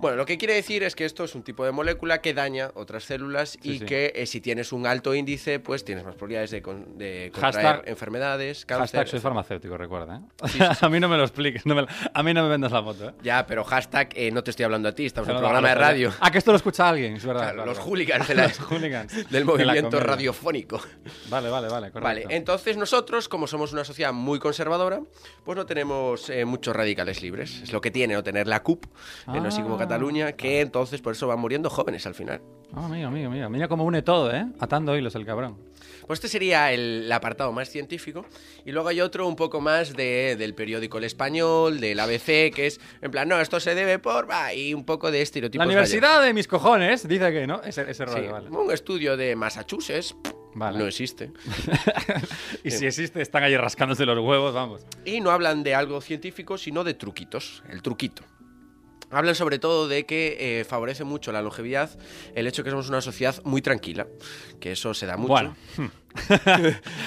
Bueno, lo que quiere decir es que esto es un tipo de molécula que daña otras células y
sí.
que eh, si tienes un alto índice, pues tienes más probabilidades de, con- de contraer
Hashtag-
enfermedades, cáncer.
Hashtag soy farmacéutico, recuerda, ¿eh? a mí no me lo expliques, no me lo- a mí no me vendas la moto, ¿eh?
Ya, pero hashtag eh, no te estoy hablando a ti, estamos en un
Pero no,
programa de
no, no,
radio.
Ah, que esto lo escucha alguien, es verdad.
Claro,
Ah, claro,
los
claro.
hooligans de la-
Los hooligans
del
de la
movimiento
comedia.
radiofónico.
Vale, vale, vale, correcto.
Vale, entonces nosotros, como somos una sociedad muy conservadora, pues no tenemos eh, muchos radicales libres. Es lo que tiene no tener la CUP, eh, no así como
Ah.
Cataluña, que entonces por eso van muriendo jóvenes al final.
Ah, mira, mira, mira. Mira cómo une todo, ¿eh? Atando hilos el cabrón.
Pues este sería el apartado más científico. Y luego hay otro un poco más de- del periódico El Español, del ABC, que es en plan, no, esto se debe por... bah, y un poco de estereotipos.
la universidad de mis cojones dice que, ¿no? Ese, ese rollo,
gallegos. Sí,
vale.
Un estudio de Massachusetts pff,
Vale.
no existe.
y si existe, están allí rascándose los huevos, vamos.
Y no hablan de algo científico, sino de truquitos, el truquito. Hablan sobre todo de que eh, favorece mucho la longevidad el hecho que somos una sociedad muy tranquila, que eso se da mucho.
Bueno.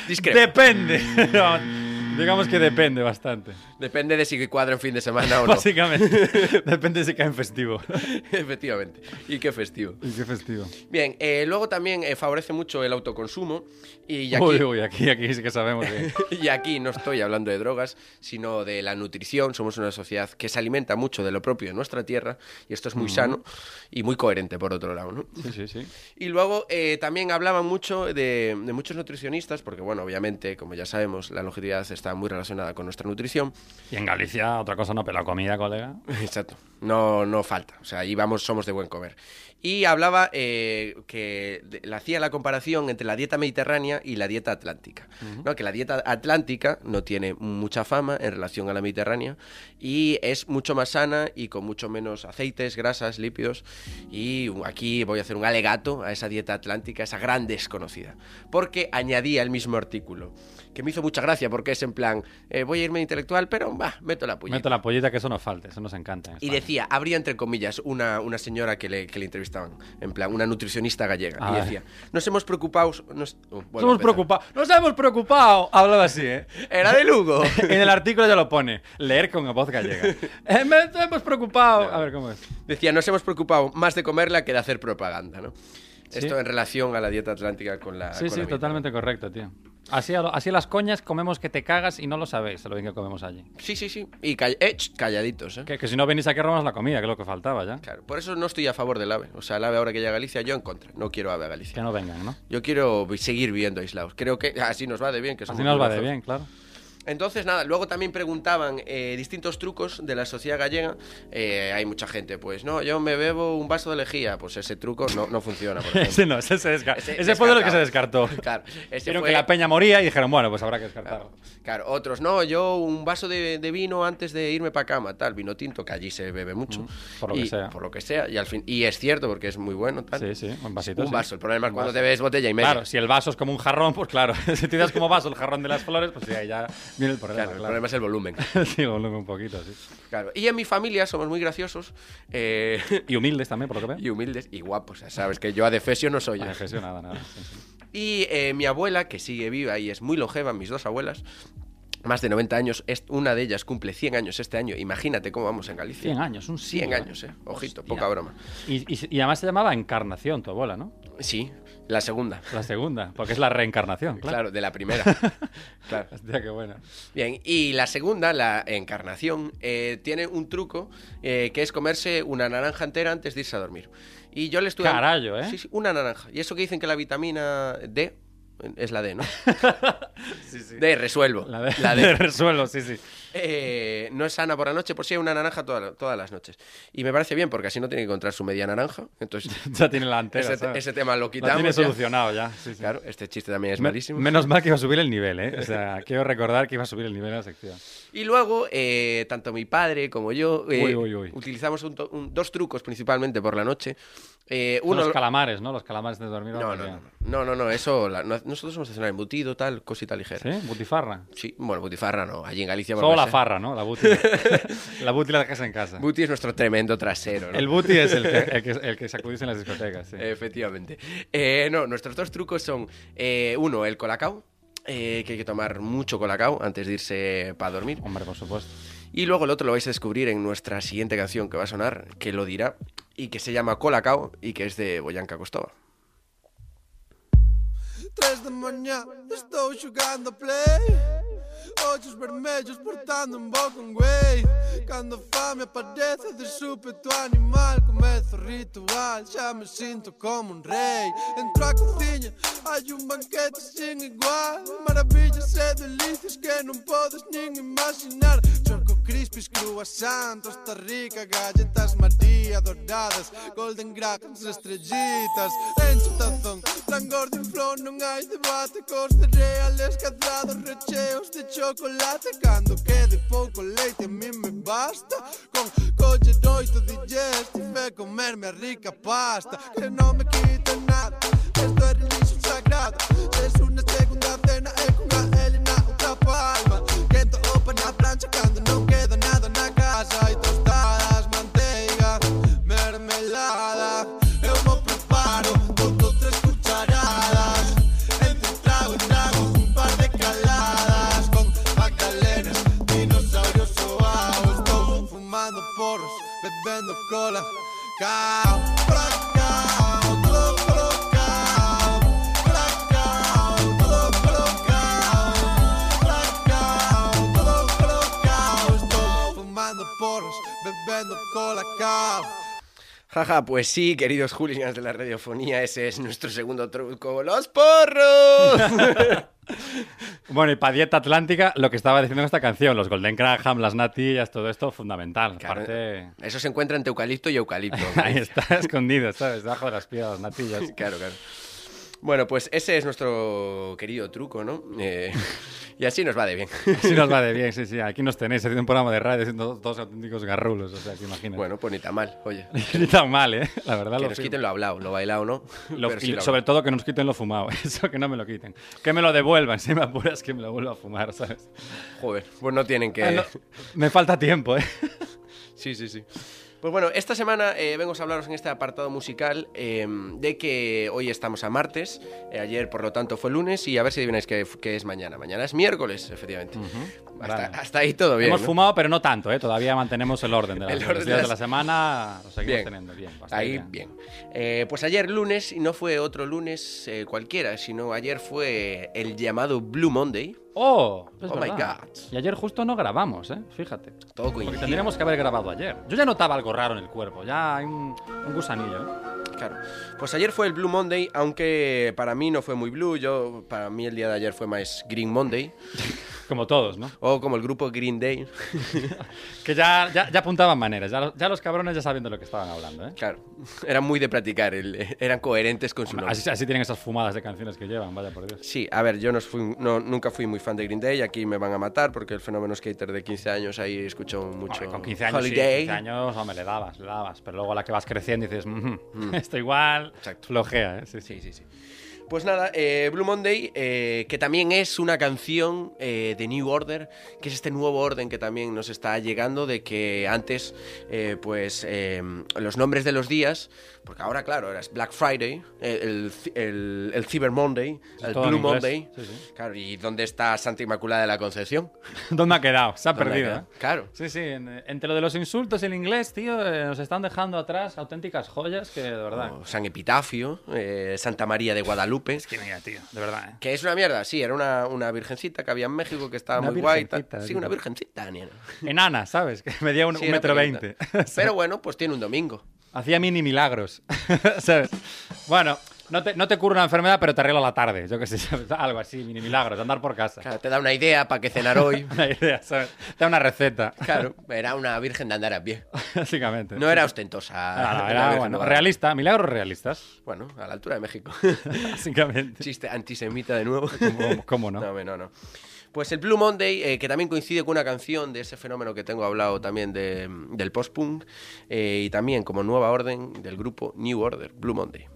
Discrepo.
Depende.
Mm.
Digamos que depende bastante.
Depende de si cuadra en fin de semana o no.
Básicamente. depende si cae en festivo.
Efectivamente. Y qué festivo.
¿Y qué festivo?
Bien, eh, luego también eh, favorece mucho el autoconsumo y aquí,
Uy, uy, aquí, aquí sí que sabemos que...
y aquí no estoy hablando de drogas, sino de la nutrición. Somos una sociedad que se alimenta mucho de lo propio de nuestra tierra y esto es muy sano y muy coherente por otro lado, ¿no?
Sí, sí, sí.
Y luego eh, también hablaban mucho de, de muchos nutricionistas, porque bueno, obviamente, como ya sabemos, la longevidad está muy relacionada con nuestra nutrición.
Y en Galicia, otra cosa no, pero la comida, colega.
Exacto, no, no falta, o sea, ahí vamos, somos de buen comer. Y hablaba eh, que de- le hacía la comparación entre la dieta mediterránea y la dieta atlántica, ¿no? que la dieta atlántica no tiene mucha fama en relación a la mediterránea y es mucho más sana y con mucho menos aceites, grasas, lípidos. Y aquí voy a hacer un alegato a esa dieta atlántica, esa gran desconocida, porque añadía el mismo artículo, que me hizo mucha gracia porque es en plan, eh, voy a irme intelectual, pero bah, meto la puñeta.
Meto la pollita que eso nos falta, eso nos encanta. en
Y
España.
decía, habría entre comillas una, una señora que le, que le entrevistaban, en plan, una nutricionista gallega.
Ah,
y
vale.
decía, nos hemos preocupado. Nos, uh, vuelvo a
Nos hemos
empezar.
preocupado. Nos hemos preocupado. Hablaba así, ¿eh?
Era de Lugo.
en el artículo ya lo pone. Leer con voz gallega. Eh, me- nos hemos preocupado. A ver cómo es.
decía, nos hemos preocupado más de comerla que de hacer propaganda, ¿no?
Sí.
Esto en relación a la dieta atlántica con la. Ah, con
Sí, sí,
la mediterránea.
totalmente correcto, tío. Así, a lo- así a las coñas comemos que te cagas y no lo sabéis lo bien que comemos allí.
Sí, sí, sí. Y call- eh, ch, calladitos, ¿eh?
Que, que si no venís aquí robamos la comida, que es lo que faltaba ya.
Claro, por eso no estoy a favor del ave. O sea, el ave ahora que llega a Galicia, yo en contra. No quiero ave a Galicia. Pues
Que no vengan, ¿no?
Yo quiero vi- seguir viendo aislados. Creo que así nos va de bien. Que
Así nos va de bien, claro.
Entonces, nada, luego también preguntaban eh, distintos trucos de la sociedad gallega. Eh, hay mucha gente, pues, no, yo me bebo un vaso de lejía. Pues ese truco no, no funciona. Por ejemplo.
Ese no, ese, se desca- ese fue de lo que se descartó.
Claro, ese
Vieron
fue-
que la peña moría y dijeron, bueno, pues habrá que descartarlo.
Claro, claro. otros, no, yo un vaso de, de vino antes de irme para cama, tal, vino tinto, que allí se bebe mucho.
Mm, por lo que
Y-
sea.
Por lo que sea, y al fin, y es cierto porque es muy bueno, tal.
Sí, sí, un vasito.
Un
sí.
vaso, el problema es
Un
cuando
vaso.
te bebes botella y media.
Claro, si el vaso es como un jarrón, pues claro, si te das como vaso el jarrón de las flores, pues sí, ahí ya viene el problema.
Claro, el problema es el volumen.
claro. Sí, volumen un poquito, sí.
Claro. Y en mi familia somos muy graciosos eh,
Y humildes también, por lo que veo.
y humildes y guapos. ya Sabes que yo a defesio no soy.
Vale, Jesús, nada, nada. sí, sí.
Y eh, mi abuela, que sigue viva y es muy longeva, mis dos abuelas, más de 90 años, es, una de ellas cumple 100 años este año. Imagínate cómo vamos en Galicia.
100 años, un
100
siglo,
años, eh. Ojito,
Hostia.
poca broma.
Y, y- y además se llamaba Encarnación, tu abuela, ¿no?
Sí, la segunda.
La segunda, porque es la reencarnación, claro.
Claro, de la primera. claro.
Hostia, qué buena.
Bien, y la segunda, la encarnación, eh, tiene un truco eh, que es comerse una naranja entera antes de irse a dormir. Y yo le estuve.
Carallo, ¿eh?
Sí, sí, una naranja. Y eso que dicen que la vitamina D es la D, ¿no? D, resuelvo.
La de,
La D.
de resuelvo, sí, sí.
Eh, no es sana por la noche, por si hay una naranja toda la- todas las noches. Y me parece bien, porque así no tiene que encontrar su media naranja. Entonces,
Ya tiene la antera,
ese,
¿sabes?
ese tema lo
La
quitamos.
tiene
ya.
solucionado ya. sí, sí.
Claro, este chiste también es
Me-
malísimo.
menos mal que iba a subir el nivel, ¿eh? O sea, quiero recordar que iba a subir el nivel de la sección.
Y luego, eh, tanto mi padre como yo eh,
Uy, uy, uy.
utilizamos un to- un- dos trucos principalmente por la noche. Eh,
Son
uno,
los calamares, ¿no? Los calamares de dormir.
no, no,
vamos,
no,
ya.
no, no, no, eso. la- no- nosotros somos de cenar embutido, tal, cosita ligera. ¿Sí?
¿Sí? Butifarra.
bueno, butifarra no, allí en Galicia. por
Solo la
sé.
farra, ¿no? La buti. la buti la dejas en casa.
pues Buti es nuestro tremendo trasero. ¿no?
El buti es el que, el que, el que sacudís en las discotecas, sí.
Efectivamente. Eh, no, nuestros dos trucos son, eh, uno, el colacao, eh, que hay que tomar mucho colacao antes de irse para dormir.
Hombre, por supuesto.
Y luego el otro lo vais a descubrir en nuestra siguiente canción que va a sonar, que lo dirá, y que se llama Colacao y que es de Boyanca Costova.
Três da manhã, estou jogando a play. Olhos vermelhos, portando um bom conguei. Quando a fome aparece de súbito animal, começa o ritual. Já me sinto como um rei. Entro à cozinha, há um banquete sem igual. Maravilhas e delícias que não podes nem imaginar. Choco crispies, croissant, Costa Rica, galletas María douradas, golden grahams, estrellitas, en su tazón, langor de flor, non hai debate, cos de reales, cadrados, recheos de chocolate, cando quede pouco leite a mí me basta, con colle noito digestive e comerme a rica pasta, que non me quita nada, esto é religión sagrada, es unha segunda cena e cunha Elena outra palma, quento opa na plancha cando non queda nada na casa e tostadas, manteiga, mermelada. Eu mo preparo, boto tres cucharadas, entre trago e trago un par de caladas con magdalenas, dinosaurios soados. Estou fumando porros, bebendo cola, cao, pra cá, todo pro cao, pra cá, todo pro cao, pra cá, todo pro cao. Estou fumando porros, bebendo cola, cao.
Jaja, pues sí, queridos hooligans de la radiofonía, ese es nuestro segundo truco, los porros.
Bueno, y para dieta atlántica, lo que estaba diciendo en esta canción, los Golden Graham, las natillas, todo esto, fundamental.
Claro,
Aparte,
Eso se encuentra entre eucalipto y eucalipto.
ahí está escondido, ¿sabes? Debajo de las piedras, las natillas.
Claro, claro. Bueno, pues ese es nuestro querido truco, ¿no? Eh, y así nos va de bien.
Así nos va de bien, sí, sí. Aquí nos tenéis haciendo un programa de radio siendo dos auténticos garrulos, o sea, que imagínate.
Bueno, pues ni tan mal, oye.
Ni tan mal, ¿eh? La verdad
Que
lo
nos
firmo.
quiten lo hablado, lo bailado, ¿no?
Lo-
Pero sí
y
lo
sobre todo que nos quiten lo fumado, eso que no me lo quiten. Que me lo devuelvan, si me apuras que me lo vuelva a fumar, ¿sabes?
hablado. Joder, pues no tienen que...
Ah, no, me falta tiempo, ¿eh?
Sí, sí, sí. Pues bueno, esta semana eh, vengo a hablaros en este apartado musical eh, de que hoy estamos a martes, eh, ayer por lo tanto fue lunes y a ver si adivináis qué, qué es mañana. Mañana es miércoles, efectivamente. hasta,
Vale.
hasta ahí todo bien.
Hemos
¿no?
fumado, pero no tanto, ¿eh? Todavía mantenemos el orden de las-
El
los
orden de
días de
las-
la semana, lo seguimos
Bien.
teniendo bien. bastante
Ahí bien. Eh, pues ayer lunes, y no fue otro lunes eh, cualquiera, sino ayer fue el llamado Blue Monday.
¡Oh! es
Oh my
verdad.
God.
Y ayer justo no grabamos, ¿eh? Fíjate.
Todo
Porque
coincidió.
tendríamos que haber grabado ayer. Yo ya notaba algo raro en el cuerpo, ya hay un, un gusanillo, ¿eh?
Claro. Pues ayer fue el Blue Monday, aunque para mí no fue muy blue. Yo, para mí el día de ayer fue más Green Monday.
Como todos, ¿no?
O como el grupo Green Day.
Que ya, ya, ya apuntaban maneras, ya, los- ya los cabrones ya sabiendo de lo que estaban hablando, ¿eh?
Claro, eran muy de practicar, el- eran coherentes con su nombre.
Así, así tienen esas fumadas de canciones que llevan, vaya por Dios.
Sí, a ver, yo no fui- no- nunca fui muy fan de Green Day, aquí me van a matar porque el fenómeno skater de 15 años ahí escuchó mucho
Hombre, con 15 años,
Holiday.
sí, 15 años, hombre, le dabas, le dabas. Pero luego a la que vas creciendo dices, "Mm, esto igual,
Exacto.
flojea, ¿eh? Sí, sí.
Sí, sí, sí. Pues nada, eh, Blue Monday, eh, que también es una canción eh, de New Order, que es este nuevo orden que también nos está llegando, de que antes, eh, pues, eh, los nombres de los días, porque ahora, claro, ahora es Black Friday, eh, el, el, el- el Cyber Monday,
Es
el
todo
Blue
en inglés.
Monday.
Sí, sí.
Claro, ¿y dónde está Santa Inmaculada de la Concepción?
¿Dónde ha quedado? Se ha
¿Dónde ha
perdido,
quedado?
¿eh?
Claro.
Sí, sí, en- entre lo de los insultos y el inglés, tío, eh, nos están dejando atrás auténticas joyas que, de verdad.
O San Epitafio, eh, Santa María de Guadalupe.
Es que mira, tío, de verdad, ¿eh?
Que es una mierda, sí, era una, una virgencita que había en México que estaba
Una
muy guay. tal.
virgencita,
Sí,
tío.
una virgencita, nena.
Enana, ¿eh? ¿sabes? Que medía un,
Sí,
un
era
metro veinte.
pequeñita. Pero bueno, pues tiene un domingo.
Hacía mini milagros, ¿sabes? Bueno, no te, no te cura una enfermedad, pero te arregla la tarde, yo qué sé, ¿sabes? algo así, mini milagros, andar por casa.
Claro, te da una idea para que cenar hoy.
Una idea, ¿sabes? Te da una receta,
Claro, era una virgen de andar a pie.
básicamente.
No era ostentosa.
No, no,
una
Ah, era,
virgen
bueno,
de-
realista, milagros realistas,
Bueno, a la altura de México.
básicamente.
Chiste antisemita de nuevo.
¿Cómo- cómo no?
No, no, no. Pues el Blue Monday, eh, que también coincide con una canción de ese fenómeno que tengo hablado también de- del post-punk, eh, y también como nueva orden del grupo New Order, Blue Monday.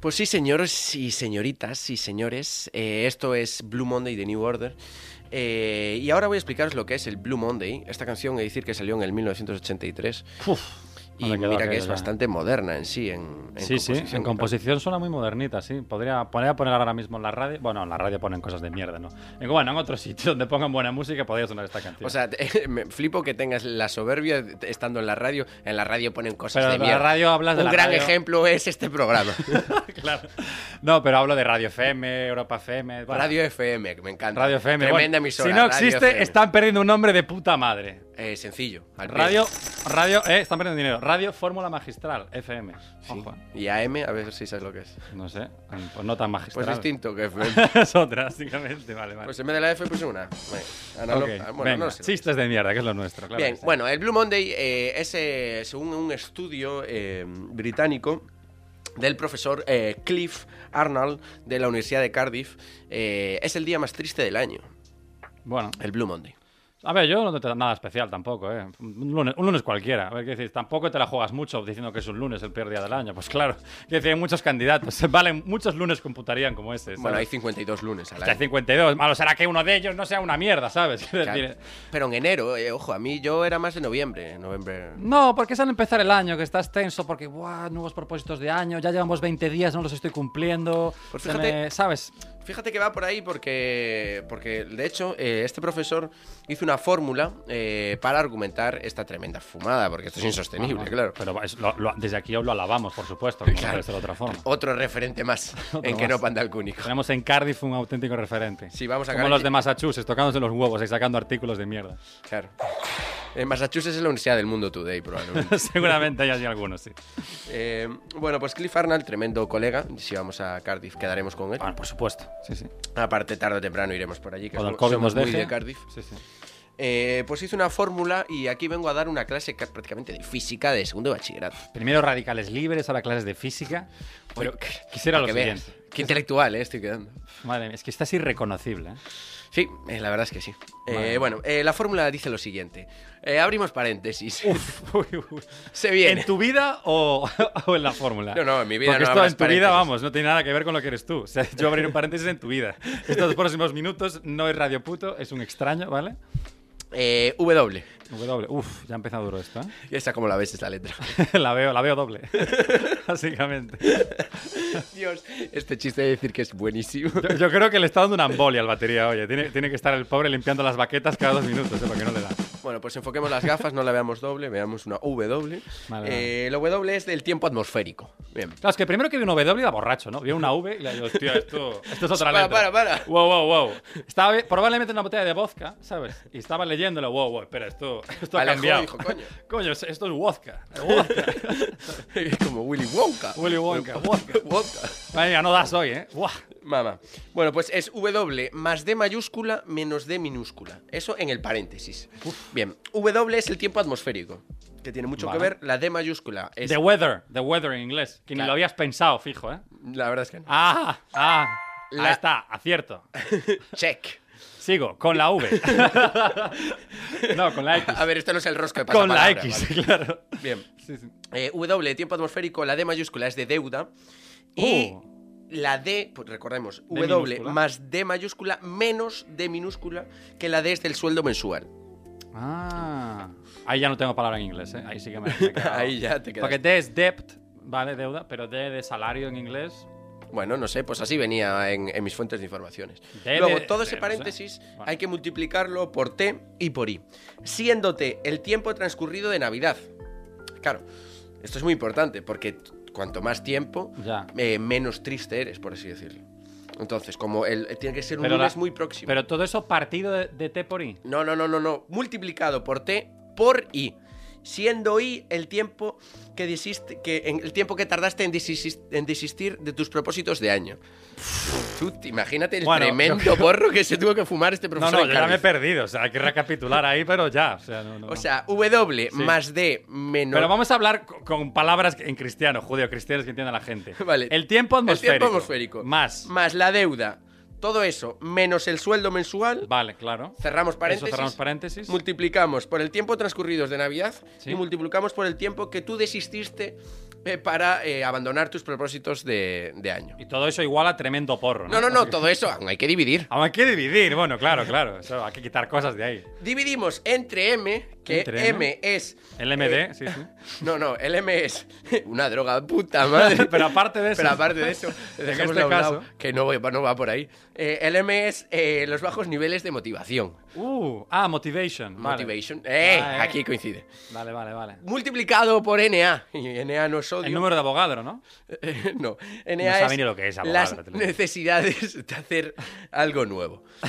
Pues sí, señores y señoritas y señores, eh, esto es Blue Monday de New Order. Eh, y ahora voy a explicaros lo que es el Blue Monday. Esta canción, he de decir que salió en el 1983. y
Vale, quedó
mira que
aquello
es
ya.
bastante moderna en sí, en, en
sí, sí, en
claro.
composición suena muy modernita, sí. Podría, podría poner ahora mismo en la radio. Bueno, en la radio ponen cosas de mierda, ¿no? En- Bueno, en otro sitio donde pongan buena música podría sonar esta canción.
O sea, te- me flipo que tengas la soberbia de- estando en la radio. En la radio ponen cosas
Pero
de
la
mierda.
radio hablas de
Un
la
gran
radio.
ejemplo es este programa.
claro. No, pero hablo de Radio FM, Europa FM. bueno,
radio FM, que me encanta.
Radio FM.
Tremenda
bueno,
emisora.
Si no
Radio
existe,
FM.
están perdiendo un nombre de puta madre.
Eh, sencillo. al pie.
Radio, radio, eh, están perdiendo dinero. Radio Fórmula Magistral, FM.
Sí.
Ojo, ¿eh?
Y AM, a ver si sabes lo que es.
no sé, pues no tan magistral.
Pues distinto que FM.
es otra, básicamente, vale, vale.
Pues en vez de la F puse una. Bueno,
Ok,
analog- ah, bueno,
venga,
no lo sé.
chistes de mierda, que es lo nuestro, claro.
Bien,
que sí.
bueno, el Blue Monday eh, es, eh, según un estudio eh, británico del profesor eh, Cliff Arnold de la Universidad de Cardiff, eh, es el día más triste del año,
Bueno,
el Blue Monday.
A ver, yo no te nada especial tampoco, ¿eh? Un lunes, un lunes cualquiera. A ver, ¿qué decís? Tampoco te la juegas mucho diciendo que es un lunes el peor día del año. Pues claro, que decir, hay muchos candidatos. Valen muchos lunes computarían como este. ¿sabes?
Bueno, hay ¿eh? 52 lunes al
Que hay
año.
52. Malo será que uno de ellos no sea una mierda, ¿sabes? Quiero
Claro.
decir,
Pero en enero, eh, ojo, a mí yo era más de noviembre. Noviembre.
No, porque es al empezar el año que estás tenso porque, ¡buah! Nuevos propósitos de año, ya llevamos 20 días, no los estoy cumpliendo.
Pues
se me-
fíjate-
¿Sabes?
Fíjate que va por ahí porque, porque de hecho, eh, este profesor hizo una fórmula eh, para argumentar esta tremenda fumada, porque esto es insostenible, claro.
Pero es- lo- lo- desde aquí os lo alabamos, por supuesto, como no
Claro.
puede ser de otra forma.
Otro referente más
Otro
en que
más.
no panda el cúnico.
Tenemos en Cardiff un auténtico referente.
Sí, vamos a
Como
Cardiff.
los de Massachusetts, tocándose los huevos y sacando artículos de mierda.
Claro. En Massachusetts es la universidad del mundo today, probablemente.
Seguramente hay allí algunos, sí.
Eh, bueno, pues Cliff Arnold, tremendo colega. Si vamos a Cardiff, quedaremos con él.
Bueno, por supuesto. Sí, sí.
Aparte, tarde o temprano iremos por allí, que
Cuando el
somos,
COVID
somos
nos
muy
deje.
de Cardiff.
Sí, sí.
Eh, pues hice una fórmula y aquí vengo a dar una clase ca- prácticamente de física de segundo de bachillerato.
Primero radicales libres, ahora clases de física. Pero qu- quisiera
Para
lo
que veas.
siguiente.
Qué intelectual, eh, estoy quedando.
Madre mía, es que estás irreconocible. ¿eh?
Sí, eh, la verdad es que sí. Eh,
Madre mía.
bueno, eh, la fórmula dice lo siguiente. Eh, abrimos paréntesis.
Uy, uy.
Se viene.
¿En tu vida o, o en la fórmula?
No, no, en mi vida
Porque
no
esto
abras
en tu vida,
paréntesis.
vamos, no tiene nada que ver con lo que eres tú. O sea, yo abrir un paréntesis en tu vida. Estos próximos minutos no es Radio Puto, es un extraño, ¿vale?
Eh, w.
W. Uf, ya ha empezado duro esto, ¿eh?
¿Y esa cómo la ves esta letra?
La veo, la veo doble. Básicamente.
Dios, este chiste de decir que es buenísimo.
Yo, yo creo que le está dando una embolia al batería, oye. Tiene, tiene que estar el pobre limpiando las baquetas cada dos minutos, ¿eh? Para que no le da.
Bueno, pues enfoquemos las gafas, no la veamos doble, veamos una W.
Vale,
Eh, La W es del tiempo atmosférico. Bien.
Claro, es que primero que vi una W era borracho, ¿no? Vi una V y le digo, hostia, esto, esto es otra
Para, para,
letra.
para.
Wow, wow, wow. Estaba vi- probablemente en una botella de vodka, ¿sabes? Y estaba leyéndolo, wow, wow, espera, esto, esto ha
Alejó,
cambiado.
dijo, coño.
Coño, es- esto es vodka. Vodka.
Es como Willy Wonka.
Willy Wonka, vodka.
Wonka.
Madre mía, no das hoy, ¿eh? Buah.
Mamá. Bueno, pues es W más D mayúscula menos D minúscula. Eso en el paréntesis. Bien, W es el tiempo atmosférico, que tiene mucho
Vale.
que ver. La D mayúscula es...
The weather, the weather en inglés. Que ni
Claro.
lo habías pensado, fijo, ¿eh?
La verdad es que no.
Ah, ah.
La-
Ahí está, acierto.
Check.
Sigo, con la V. no, con la X.
A ver, esto no es el rosco de
con la
pasapalabra,
X,
vale.
claro.
Bien.
Sí, sí.
Eh, w, tiempo atmosférico, la D mayúscula es de deuda. Y
Oh.
la D, pues recordemos,
D
W
minúscula.
más D mayúscula menos D minúscula, que la D es del sueldo mensual.
Ah. Ahí ya no tengo palabra en inglés, ¿eh? Ahí sí que me, me he quedado.
Ahí ya te quedas.
Porque D es debt, ¿vale? Deuda, pero D de salario en inglés.
Bueno, no sé, pues así venía en, en mis fuentes de informaciones.
Debe-
Luego, todo ese
debe, no sé.
paréntesis
Bueno.
hay que multiplicarlo por T y por I, siendo T el tiempo transcurrido de Navidad. Claro, esto es muy importante porque t- cuanto más tiempo,
Ya.
eh, menos triste eres, por así decirlo. Entonces, como el, eh, tiene que ser un
Pero la-
lunes muy próximo.
Pero todo eso partido de, de T por I.
No, no, no, no, no. Multiplicado por T por I. Siendo I el tiempo que desiste- que en- el tiempo que tardaste en, desis- en desistir de tus propósitos de año. Tú te- imagínate el
Bueno, yo
tremendo borro que se tuvo que fumar este
No,
profesor.
no,
en
yo ya me he
Cádiz.
perdido. O sea, hay que recapitular ahí, pero ya. O sea, no, no,
O
no.
sea, W más D menos.
Pero vamos a hablar co- con palabras en cristiano, judío, cristianos que entienda la gente.
Vale.
El tiempo atmosférico.
El tiempo atmosférico.
Más.
Más la deuda. Todo eso menos el sueldo mensual.
Vale, claro.
Cerramos paréntesis.
Eso cerramos paréntesis.
Multiplicamos por el tiempo transcurrido de Navidad
Sí.
y multiplicamos por el tiempo que tú desististe eh, para eh, abandonar tus propósitos de, de año.
Y todo eso igual a tremendo porro.
No, no, no, todo eso aún hay que dividir.
Aún hay que dividir. Bueno, claro, claro. Eso, hay que quitar cosas de ahí.
Dividimos entre M, que
Entre M.
M, es... eh,
El MD, sí, sí.
No, no, el M es una droga, puta madre.
Pero aparte de eso.
Pero aparte de eso,
En
dejémoslo
este
a un lado,
caso.
que no, voy- no va por ahí. Eh, el M es eh, los bajos niveles de motivación.
Uh, ah, motivation. vale.
Motivation. Eh,
Ah, eh.
aquí coincide.
Vale, vale, vale.
Multiplicado por NA. Y NA no es sodio.
El número de abogado, ¿no?
Eh, no, NA
No sabe
es
ni lo que es abogado,
las
te lo digo.
necesidades de hacer algo nuevo. o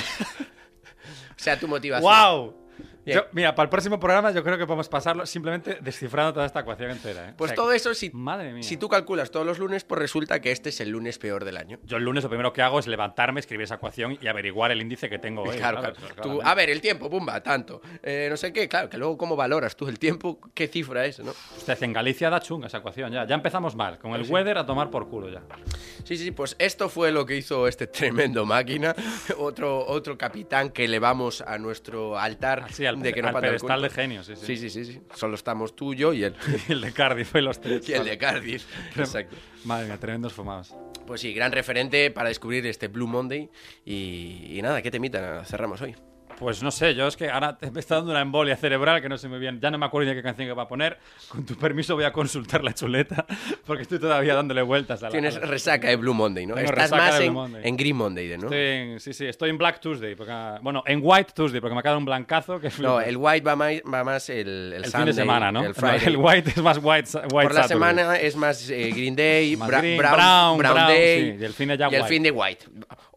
sea, tu motivación.
¡Wow!
Bien.
Yo- mira, para el próximo programa yo creo que podemos pasarlo simplemente descifrando toda esta ecuación entera. ¿eh?
Pues
O sea,
todo eso, si,
madre mía.
si tú calculas todos los lunes, pues resulta que este es el lunes peor del año.
Yo el lunes lo primero que hago es levantarme, escribir esa ecuación y averiguar el índice que tengo hoy.
Claro,
¿sabes?
claro.
Pues,
Tú,
claramente.
a ver, el tiempo, pumba, tanto. Eh, no sé qué, claro, que luego cómo valoras tú el tiempo, qué cifra es, ¿no?
Usted en Galicia da chunga esa ecuación ya. Ya empezamos mal, con el weather a tomar por culo ya.
Sí, sí, pues esto fue lo que hizo este tremendo máquina, otro, otro capitán que elevamos a nuestro altar
Así, Ah, al,
de que no
al
pata el
pedestal
culo.
de genios. Sí, sí.
Sí, sí, sí, sí. Solo estamos tú, yo y él.
Y el de Cardiff y los tres.
y el de Cardiff. Exacto.
Madre mía, tremendos fumados.
Pues sí, gran referente para descubrir este Blue Monday. Y, y nada, ¿qué temita cerramos hoy?
Pues no sé, yo es que ahora te- me está dando una embolia cerebral que no sé muy bien. Ya no me acuerdo ni qué canción que va a poner. Con tu permiso voy a consultar la chuleta porque estoy todavía dándole vueltas a la.
Tienes
a la-
resaca de Blue Monday, ¿no?
Tengo
Estás
resaca
más
de
en,
Blue Monday.
en Green Monday, de, ¿no?
Estoy en- sí, sí, estoy en Black Tuesday. porque- bueno, en White Tuesday porque me ha quedado un blancazo que
No,
flipas.
el White va más, va más el, el
El fin
Sunday,
de semana, ¿no?
El Friday.
No, el White es más White, white
Por la
Saturday.
semana es más eh, Green Day,
Más
Bra-
Green,
brown,
Brown, Brown,
Day.
sí, y el fin de ya
y el
White.
fin de White.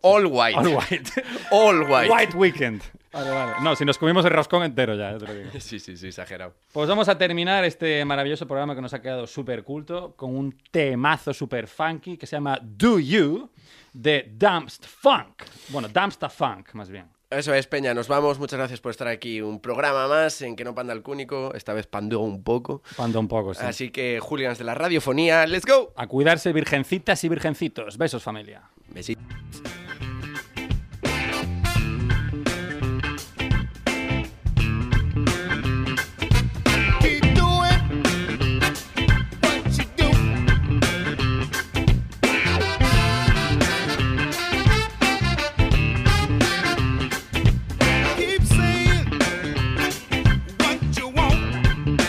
All White.
All white.
All White.
White Weekend. Vale, vale. No, si nos comimos el roscón entero ya, ya te lo digo.
Sí, sí, sí, exagerado.
Pues vamos a terminar este maravilloso programa que nos ha quedado súper culto con un temazo súper funky que se llama Do You de Dumpst Funk. Bueno, Dumpsta Funk, más bien.
Eso es, Peña. Nos vamos. Muchas gracias por estar aquí. Un programa más en que no panda el cúnico. Esta vez pandó un poco.
Cuando un poco, sí.
Así que, Julians de la radiofonía, ¡let's go!
A cuidarse, virgencitas y virgencitos. Besos, familia.
Besitos.
Keep doing what you do. Keep saying what you want.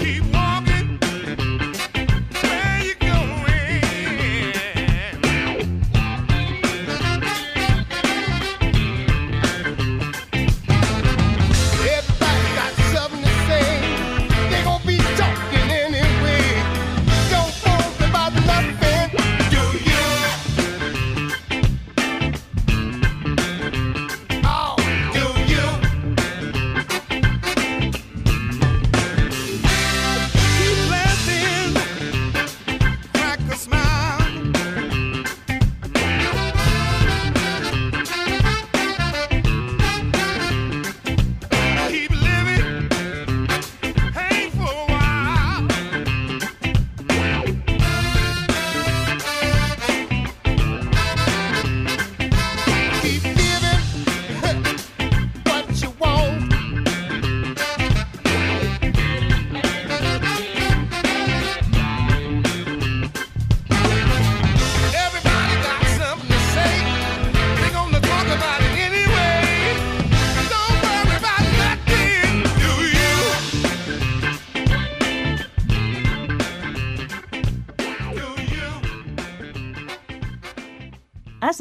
Keep walking where you're going. Everybody got something to say. They gon' be talking anyway. Don't worry about nothing. Do you? Oh, do you? Keep laughing, crack a smile. Keep living, hang for a while. Keep giving what you want. Everybody got something to say. They gonna talk about it anyway. Don't worry about nothing, do you? Do you?
Has